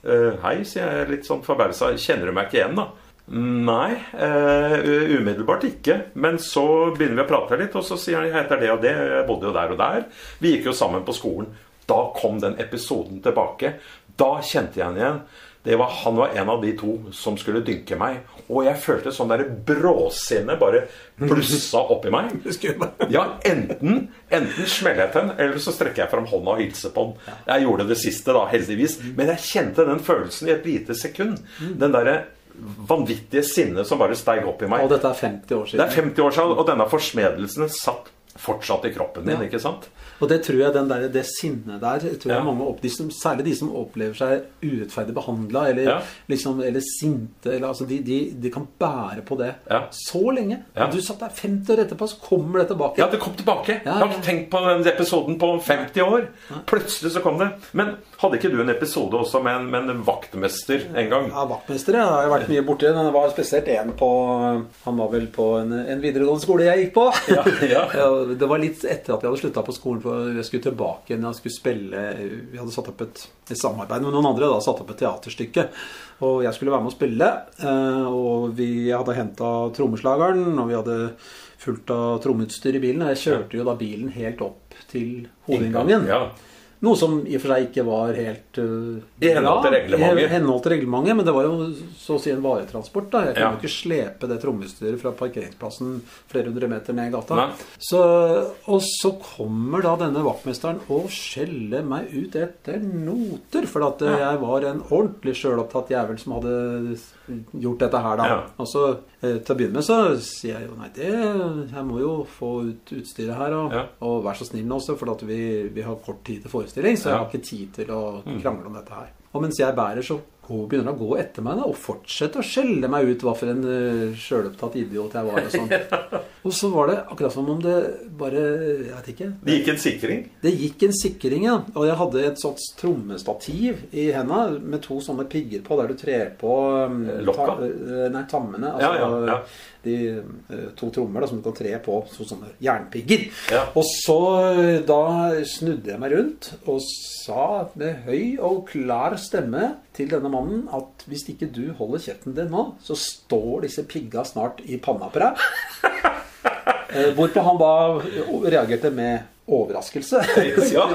Eh, 'Hei', sier jeg litt sånn forbausa. 'Kjenner du meg ikke igjen', da? Nei, eh, umiddelbart ikke. Men så begynner vi å prate litt, og så sier han 'Jeg heter det og det, jeg bodde jo der og der'. Vi gikk jo sammen på skolen. Da kom den episoden tilbake. Da kjente jeg han igjen. Det var, han var en av de to som skulle dynke meg. Og jeg følte sånn derre bråsinne bare blussa oppi meg. Ja, enten, enten smeller jeg til den, eller så strekker jeg fram hånda og hilser på den. Jeg gjorde det siste, da, heldigvis. Mm. Men jeg kjente den følelsen i et lite sekund. Den derre vanvittige sinnet som bare steig opp i meg. Og dette er 50 år Det siden. er 50 år siden, og denne forsmedelsen satt fortsatt i kroppen din, Ja. ikke sant? Og det tror jeg den der, det sinnet der tror jeg Ja. mange opp, de som, Særlig de som opplever seg urettferdig behandla eller, Ja. liksom, eller sinte. Eller, altså, de, de, de kan bære på det Ja. så lenge. Ja. Du satt der 50 år etterpå, så kommer det tilbake. Ja, det kom tilbake. Ja, Jeg har ja. ikke tenkt på den episoden på 50 år. Plutselig så kom det. Men hadde ikke du en episode også med en, med en vaktmester en gang? Ja, vaktmester jeg har jo vært mye borti. Det var spesielt en på Han var vel på en, en videregående skole jeg gikk på. Ja, ja. og det var litt etter at jeg hadde slutta på skolen. For jeg skulle tilbake igjen, jeg skulle spille Vi hadde satt opp et, et samarbeid med noen andre. da, Satt opp et teaterstykke. Og jeg skulle være med å spille. eh, Og vi hadde henta trommeslageren, og vi hadde fullt av trommeutstyr i bilen. Og jeg kjørte jo da bilen helt opp til hovedinngangen. Ja. Noe som i og for seg ikke var helt øh, I henhold til bra. reglementet. I henhold til reglementet, men det var jo så å si en varetransport. da. Jeg kunne Ja. jo ikke slepe det trommestyret fra parkeringsplassen flere hundre meter ned i gata. Nei. Så, og så kommer da denne vaktmesteren og skjeller meg ut etter noter. For at øh, jeg var en ordentlig sjølopptatt jævel som hadde gjort dette her, da. Ja. Og så eh, til å begynne med så sier jeg jo nei, det Jeg må jo få ut utstyret her. Og, Ja. og vær så snill nå også, for at vi, vi har kort tid til forestilling. Så jeg Ja. Mm. har ikke tid til å krangle om dette her. Og mens jeg bærer, så går- begynner han å gå etter meg da, og fortsetter å skjelle meg ut hva for en uh, sjølopptatt idiot jeg var. Og sånn. Og så var det akkurat som om det bare Jeg vet ikke. Det gikk en sikring. Det gikk en sikring, ja. Og jeg hadde et sånt trommestativ i henda med to sånne pigger på der du trer på um, Lokka? ta- eh, nei, tammene. Ja, Altså ja, ja. de eh, to trommer da, som du kan tre på, to sånne jernpigger. Ja. Og så eh, da snudde jeg meg rundt og sa med høy og klar stemme til denne mannen at hvis ikke du holder kjeften din nå, så står disse pigga snart i panna på deg. Eh, Hvorpå han da reagerte med overraskelse. Ja,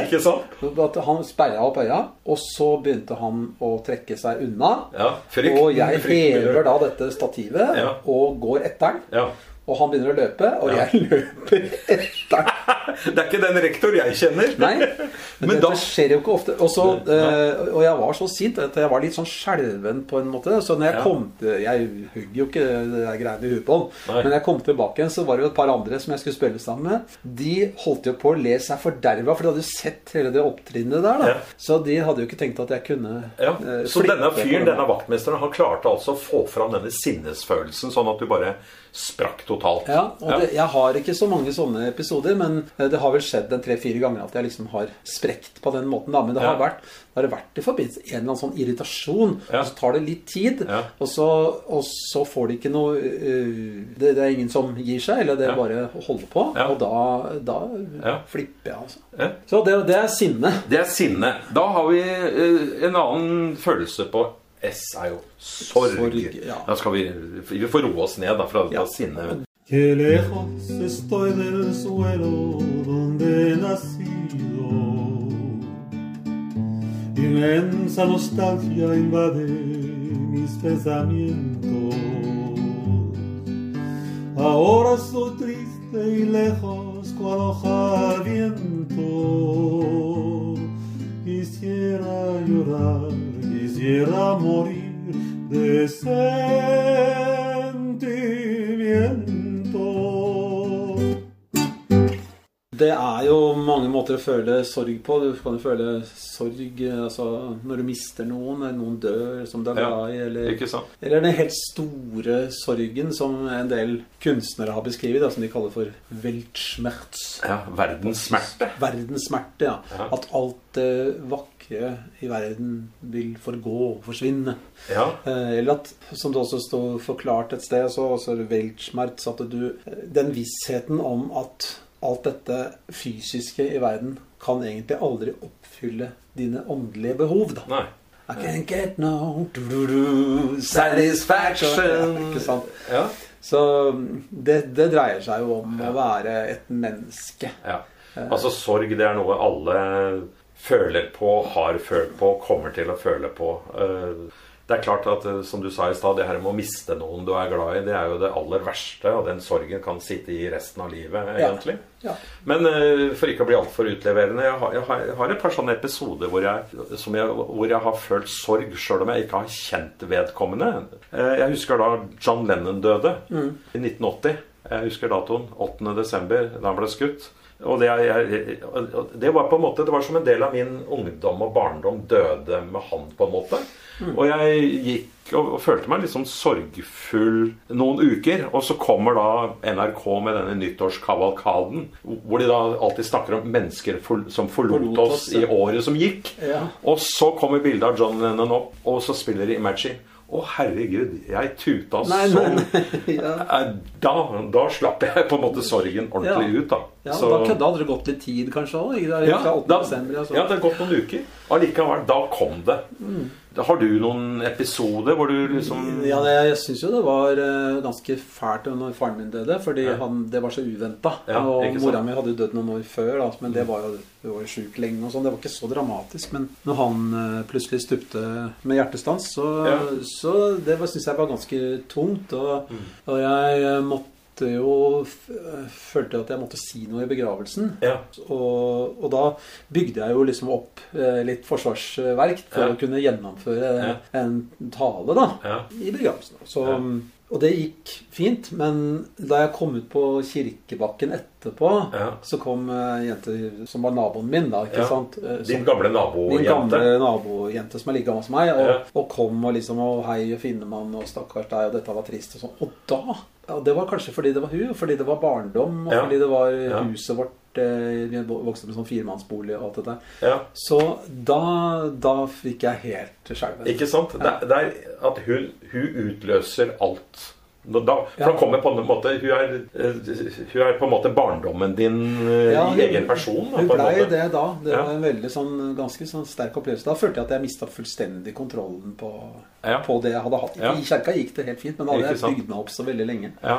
ikke sant? At han sperra opp øya, og så begynte han å trekke seg unna. Ja, frykt, og jeg frykt, hever da dette stativet Ja. og går etter den. Ja. Og han begynner å løpe, og jeg løper etter den. Det er ikke den rektor jeg kjenner. Nei, men, Men dette da skjer jo ikke ofte. Og, så, eh, og jeg var så sint at jeg var litt sånn skjelven på en måte. Så når jeg Ja. kom til Jeg hugger jo ikke det der greiene i huet på Nei. han. Men jeg kom tilbake igjen, så var det jo et par andre som jeg skulle spille sammen med. De holdt jo på å le seg forderva, for de hadde jo sett hele det opptrinnet der. da Ja. Så de hadde jo ikke tenkt at jeg kunne ja. eh, Så flippe denne på fyren, det. denne vaktmesteren, han klarte altså å få fram denne sinnesfølelsen, sånn at du bare sprakk totalt. Ja, og Ja. Det, jeg har ikke så mange sånne episoder, men eh, det har vel skjedd en tre-fire ganger at jeg liksom har sprekt på den måten. da, Men det har, Ja. vært, det har vært i forbindelse med en eller annen sånn irritasjon. Ja. Og så tar det litt tid, Ja. og, så, og så får de ikke noe eh, det, det er ingen som gir seg, eller det Ja. bare holder på. Ja. Og da, da Ja. flipper jeg, altså. Ja. Så det, det er sinne. Det er sinne. Da har vi eh, en annen følelse på S er jo sorg. Sorg, ja. Da skal vi, vi får roe oss ned da fra dette sinnet. Qué lejos estoy del suelo donde he nacido. Inmensa nostalgia invade mis pensamientos. Ahora soy triste y lejos cual hoja al viento. Quisiera llorar, quisiera morir de sentimiento. Det er jo mange måter å føle sorg på. Du kan jo føle sorg eh, altså, når du mister noen, eller noen dør som du er Ja, glad i, eller Ikke sant? Eller den helt store sorgen som en del kunstnere har beskrevet, da, som de kaller for Weltschmerz. Ja, verdens smerte. Verdens smerte, ja. Ja. At alt det vakre i verden vil forgå, forsvinne. Ja. Eh, Eller at, som det også sto forklart et sted, så også Weltschmerz, at du eh, Den vissheten om at alt dette fysiske i verden kan egentlig aldri oppfylle dine åndelige behov, da. Nei. I can get no du-du-du, satisfaction. Ikke sant? Ja. Så det, det dreier seg jo om å være et menneske. ja. Altså, sorg det er noe alle føler på, har følt på, kommer til å føle på. Eh, Det er klart at, eh, som du sa i stad, det her med å miste noen du er glad i, det er jo det aller verste, og den sorgen kan sitte i resten av livet, Ja. egentlig. Ja. Men eh, for ikke å bli altfor utleverende jeg har, jeg, har, jeg har et par sånne episoder hvor jeg, som jeg, hvor jeg har følt sorg, sjøl om jeg ikke har kjent vedkommende. Eh, jeg husker da John Lennon døde i 1980. Jeg husker datoen. 8. desember, da han ble skutt. Og det, jeg, jeg- det var på en måte Det var som en del av min ungdom og barndom døde med han, på en måte. Mm. Og jeg gikk og, og følte meg litt sånn sorgfull noen uker. Og så kommer da NRK med denne nyttårskavalkaden, hvor de da alltid snakker om mennesker for, som forlot, Forlot oss, oss i ja. året som gikk. Ja. Og så kommer bildet av John Lennon opp, og så spiller de Imagine. Å, herregud, jeg tuta Nei, så nei, nei. Ja. Eh, Da, da slapp jeg på en måte sorgen ordentlig Ja. ut, da. Ja, Så- Da kødda hadde det gått litt tid, kanskje? Også, ikke? Da, ja, fra 8. da, desember, altså. Mm. ja, det har gått noen uker. Allikevel, da kom det. Har du noen episoder hvor du liksom Ja, det, jeg syns jo det var eh, ganske fælt når faren min døde, fordi Ja. han, det var så uventa. Ja, og ikke sant? Mm. mora mi hadde jo dødd noen år før, da, men det var jo hun var jo sjuk lenge. og sånn, Det var ikke så dramatisk. Men når han eh, plutselig stupte med hjertestans, så, Ja. Mm. så det syns jeg var ganske tungt. Og, og jeg eh, måtte jo f- eh, Følte at jeg måtte si noe i begravelsen. Ja. Og, og da bygde jeg jo liksom opp eh, litt forsvarsverk for Ja. å kunne gjennomføre Ja. en tale, da Ja. i begravelsen. Så, Ja. Og det gikk fint, men da jeg kom ut på kirkebakken etterpå, Ja. så kom ei jente som var naboen min, da, ikke Ja. sant? Eh, som- Din gamle min nabojente. gamle nabojente som er like gammel som meg, og, Ja. og kom og liksom og 'Hei, Finnemann', og 'Stakkars deg', og 'Dette var trist', og sånn. Og da ja, Det var kanskje fordi det var hun, og fordi det var barndom, og Ja. fordi det var Ja. huset vårt eh, Vi vokste opp i sånn firemannsbolig og alt dette. Ja. Så da, da fikk jeg helt skjelven. Ikke sant? Det, er- det er at hun, hun utløser alt. Da, da- for Ja. da kommer på en måte Hun er, eh, hun er på en måte barndommen din eh, Ja, i egen person. Da, Hun på en blei måte. det da. Det Ja. var en veldig sånn, ganske sånn sterk opplevelse. Da følte jeg at jeg mista fullstendig kontrollen på, Ja. på det jeg hadde hatt. Ja. I kjerka gikk det helt fint, men da hadde Ikke jeg sant. bygd meg opp så veldig lenge. Ja.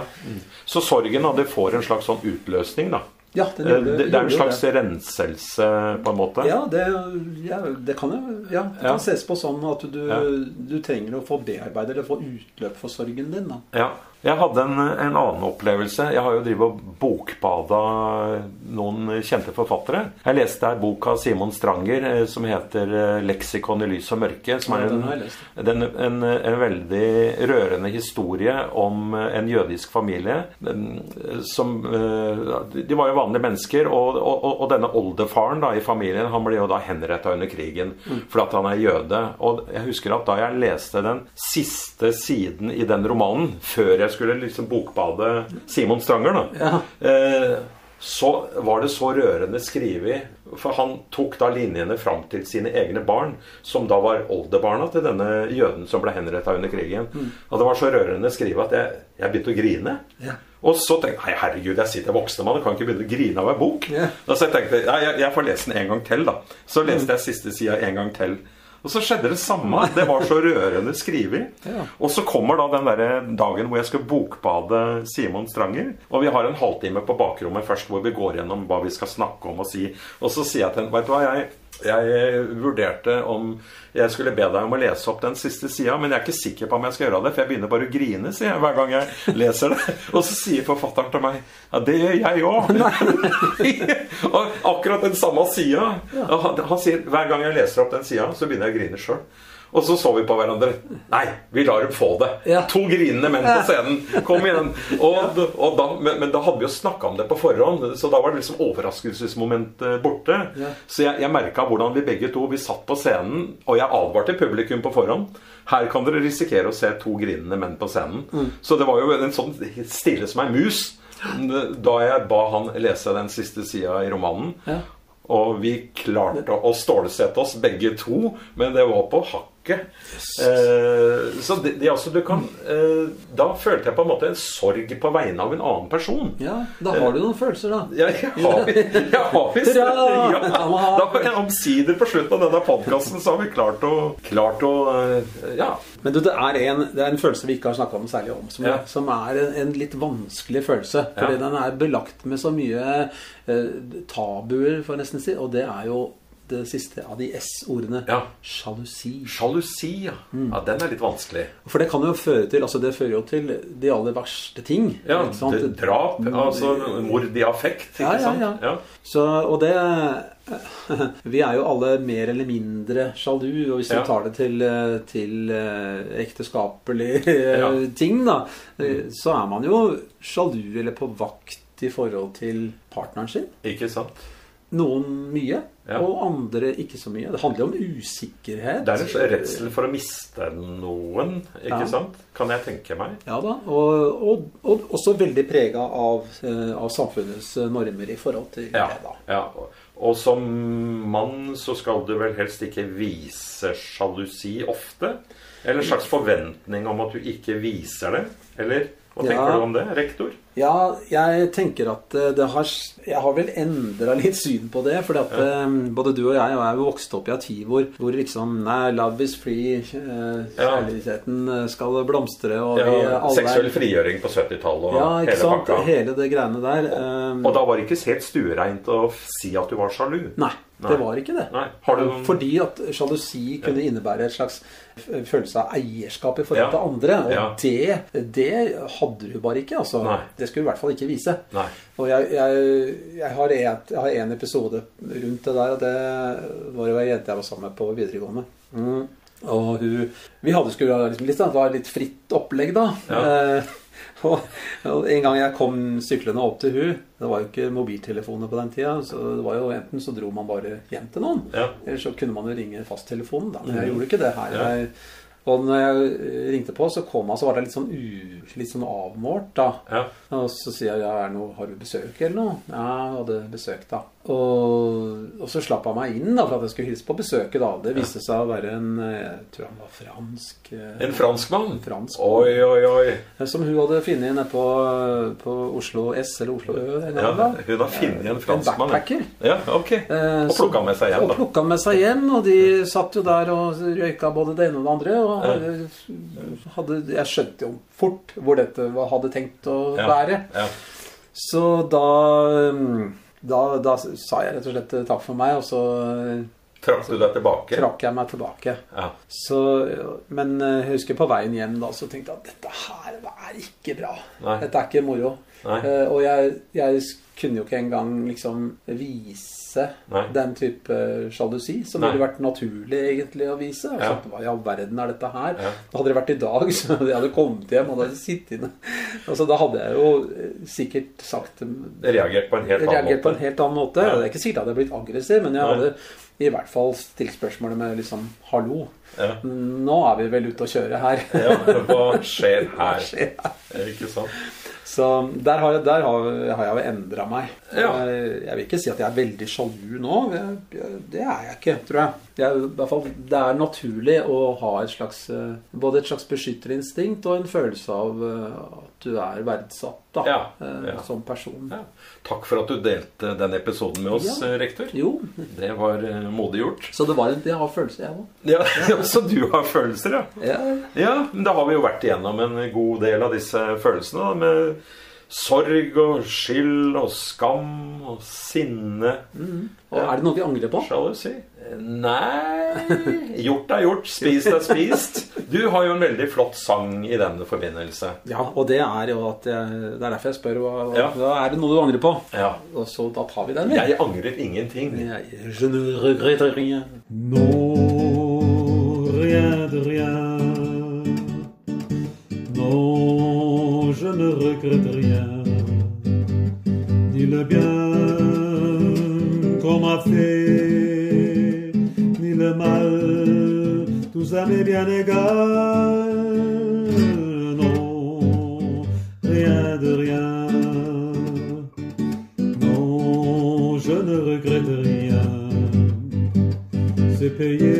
Så sorgen da, det får en slags sånn utløsning, da. Ja, den Eh, gjorde, Det, det er en gjorde jo slags det. renselse, på en måte. Ja, det, ja, det kan jo ja, det Ja. kan ses på sånn at du, Ja. du trenger å få bearbeidet eller få utløp for sorgen din. Da. Ja. Jeg hadde en, en annen opplevelse. Jeg har jo drevet og bokbada noen kjente forfattere. Jeg leste ei bok av Simon Stranger eh, som heter eh, 'Leksikon i lys og mørke'. Som Ja, er den en, har jeg lest. den- en, en veldig rørende historie om eh, en jødisk familie eh, som eh, De var jo vanlige mennesker, og, og, og- og denne oldefaren da, i familien han ble jo da henretta under krigen fordi at han er jøde. Og jeg husker at da jeg leste den siste siden i den romanen, før jeg skulle liksom bokbade Simon Stranger, da eh, så var det så rørende skrevet. For han tok da linjene fram til sine egne barn, som da var oldebarna til denne jøden som ble henretta under krigen. Mm. Og det var så rørende skrevet at jeg, jeg begynte å grine. Ja. Og så tenkte jeg nei, herregud, jeg sitter voksen mann, jeg kan ikke begynne å grine av en bok. Ja. Da så jeg tenkte nei, jeg, jeg får lese den en gang til, da. Så leste jeg siste sida en gang til. Og så skjedde det samme. Det var så rørende skrevet. Ja. Og så kommer da den der dagen hvor jeg skal bokbade Simon Stranger. Og vi har en halvtime på bakrommet først hvor vi går gjennom hva vi skal snakke om og si. Og så sier jeg til henne Vet du hva, jeg, jeg vurderte om jeg skulle be deg om å lese opp den siste sida, men jeg er ikke sikker på om jeg skal gjøre det, for jeg begynner bare å grine, sier jeg hver gang jeg leser det. Og så sier forfatteren til meg Ja, det gjør jeg òg. og akkurat den samme sida. Han, han sier hver gang jeg leser opp den sida, så begynner jeg å grine sjøl. Og så så vi på hverandre. Nei, vi lar dem få det. Ja. To grinende menn på scenen. Kom igjen. Og, og da, men, men da hadde vi jo snakka om det på forhånd, så da var det liksom overraskelsesmomentet borte. Ja. Så jeg, jeg merka hvordan vi begge to Vi satt på scenen, og jeg advarte publikum på forhånd. Her kan dere risikere å se to grinende menn på scenen. Mm. Så det var jo en sånn stille som ei mus da jeg ba han lese den siste sida i romanen. Ja. Og vi klarte å stålsette oss begge to, men det var på hakket. Eh, så det, det er altså, du kan eh, Da følte jeg på en måte en sorg på vegne av en annen person. Ja, da Eh. har du noen følelser, da. Jeg, jeg har, jeg har visst Hurra! ja, Da var jeg omsider på slutten av denne podkasten, så har vi klart å, klart å eh, Ja. Men du, det er en, det er en følelse vi ikke har snakka særlig om, som, Ja. som er en, en litt vanskelig følelse. Fordi Ja. den er belagt med så mye eh, tabuer, får jeg nesten si. Og det er jo det siste av de S-ordene. Ja. Sjalusi. Sjalusi, ja. Mm. ja. Den er litt vanskelig. For det kan jo føre til altså det fører jo til de aller verste ting. Ja, ikke sant? Mm. det- Drap, altså mord i affekt, ikke Ja, ja, sant? ja. Så, og det Vi er jo alle mer eller mindre sjalu, og hvis Ja. du tar det til, eh, til eh, ekteskapelige eh, Ja. ting, da, eh, så er man jo sjalu eller på vakt i forhold til partneren sin. Ikke sant? Noen mye, Ja. og andre ikke så mye. Det handler jo om usikkerhet. Det er en slags redsel for å miste noen, ikke Ja. sant? Kan jeg tenke meg. Ja da, og, og, og også veldig prega av, eh, av samfunnets eh, normer i forhold til Ja. det, da. ja. Og- Og som mann så skal du vel helst ikke vise sjalusi ofte? Eller en slags forventning om at du ikke viser det? Eller hva tenker Ja. du om det, rektor? Ja, jeg tenker at eh, det har Jeg har vel endra litt syn på det. For både du og jeg er jo vokst opp i en tid hvor, hvor liksom Nei, love is free. eh, Ja. Kjærligheten eh, skal blomstre, og vi Ja, alle er- seksuell frigjøring på 70-tallet og Ja, ikke hele sant? pakka. Hele det greiene der. eh, Og da var det ikke helt stuereint å f- si at du var sjalu. Nei, Nei. det var ikke det. Nei. Har du noen Fordi at sjalusi kunne innebære et slags f- følelse av eierskap i Ja. forhold til andre. Og Ja. det, det hadde du bare ikke. Altså. Nei. Det skulle du i hvert fall ikke vise. Nei. Og jeg, jeg, jeg, har et, jeg har en episode rundt det der, og det var jo ei jente jeg var sammen med på videregående. Mm. Og hun Vi hadde skulle ha liksom litt, sånn- det var litt fritt opplegg, da. Ja. Eh, og, og en gang jeg kom syklende opp til hun Det var jo ikke mobiltelefoner på den tida. Så det var jo enten så dro man bare hjem til noen, Ja. eller så kunne man jo ringe fasttelefonen. da. Men jeg gjorde ikke det her. Jeg, og når jeg ringte på, så kom han, så var det litt sånn, u, litt sånn avmålt, da. Ja. Og så sier jeg ja, er det noe, har du besøk eller noe? Ja, jeg hadde besøk, da. Og, og så slapp han meg inn da, for at jeg skulle hilse på besøket. da. Det viste seg å være en eh, Jeg tror han var fransk. eh, En franskmann? fransk. eh, Oi, oi, oi. Som hun hadde funnet nede på, på Oslo S eller Oslo Ø. Eller Ja, noe, da. Eh, hun har funnet en franskmann. ja. backpacker. Ja, ok. Eh, Og så- plukka med seg hjem, Og da. plukka med seg hjem, og de satt jo der og røyka både det ene og det andre. Og hadde, hadde, jeg skjønte jo fort hvor dette var- hadde tenkt å Ja. være. Ja. Så da, um, da Da sa jeg rett og slett eh, takk for meg, og så eh, Trakk du deg tilbake? trakk jeg meg tilbake. Ja. Så, men eh, jeg husker på veien hjem da, så tenkte jeg at dette her det er ikke bra. Nei. Dette er ikke moro. Nei. Eh, og jeg, jeg kunne jo ikke engang liksom vise Nei. den type sjalusi som Nei. ville vært naturlig egentlig å vise. Jeg Ja. tenkte, Hva i all verden er dette her? Ja. Da hadde det vært i dag, så jeg hadde kommet hjem og da hadde jeg sittet inne. Altså, da hadde jeg jo eh, sikkert sagt Reagert på en helt annen reagert på en måte. helt annen måte. Ja. Det er ikke sikkert at jeg hadde blitt aggressiv, men jeg Nei. hadde i hvert fall stilt spørsmålet med liksom Hallo, Ja. nå er vi vel ute å kjøre her. Ja, hva skjer Hva her? skjer her? Ikke sant? Så der har jeg, der har, har jeg jo endra meg. Ja. Jeg, jeg vil ikke si at jeg er veldig sjalu nå. Jeg, jeg, det er jeg ikke, tror jeg. jeg er i hvert fall, det er naturlig å ha et slags, eh, både et slags beskytterinstinkt og en følelse av eh, at du er verdsatt da, Ja, eh, ja. som person. Ja. Takk for at du delte den episoden med oss, Ja. eh, rektor. Jo, Det var eh, modig gjort. så det var en, jeg har følelser, jeg òg. Ja, Så du har følelser, ja? Ja. Ja, men da har vi jo vært igjennom en god del av disse følelsene. Da, med sorg og skyld og skam og sinne. Og er det noe vi angrer på? Sjalusi? Eh, Nei Gjort er gjort, spist er spist. Du har jo en veldig flott sang i den forbindelse. Ja, og det er jo at jeg, Det er derfor jeg spør hva, hva Ja. hva er det noe du angrer på? Ja. Og så da tar vi den, vi. Jeg angrer ingenting. Jeg- Je ne regrette rien. Non, rien de rien. Non, je ne regrette rien. Ni le bien qu'on m'a fait, ni le mal, tout ça m'est bien égal. Non, rien de rien. Non, je ne regrette rien. C'est payé,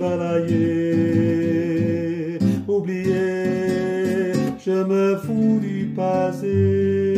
balayé, oublié, je me fous du passé.